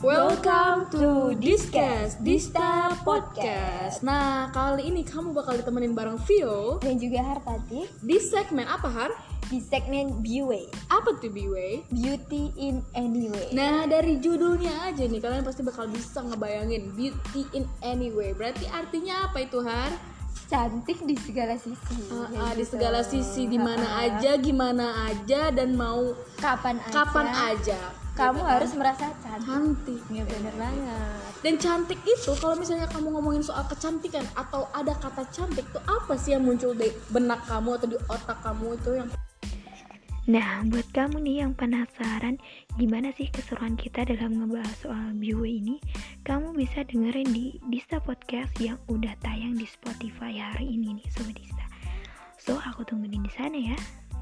Welcome to Discuss Dista Podcast. Nah, kali ini kamu bakal ditemenin bareng Vio dan juga Hartati di segmen apa Har? di segmen Beauty, Apa tuh B-Way? Beauty in Any Way. Nah, dari judulnya aja nih kalian pasti bakal bisa ngebayangin beauty in any way. Berarti artinya apa itu Har? Cantik di segala sisi. Ah, ya ah, di gitu. segala sisi, di Ah, mana aja, gimana aja dan mau kapan aja. kapan aja. Gitu kan? Kamu harus merasa cantik. cantik. Ya bener banget. Dan cantik itu kalau misalnya kamu ngomongin soal kecantikan atau ada kata cantik tuh apa sih yang muncul di benak kamu atau di otak kamu itu yang Nah, buat kamu nih yang penasaran gimana sih keseruan kita dalam ngebahas soal Biwe ini, kamu bisa dengerin di Dista Podcast yang udah tayang di Spotify hari ini nih, Sobat Dista. So, aku tungguin di sana ya.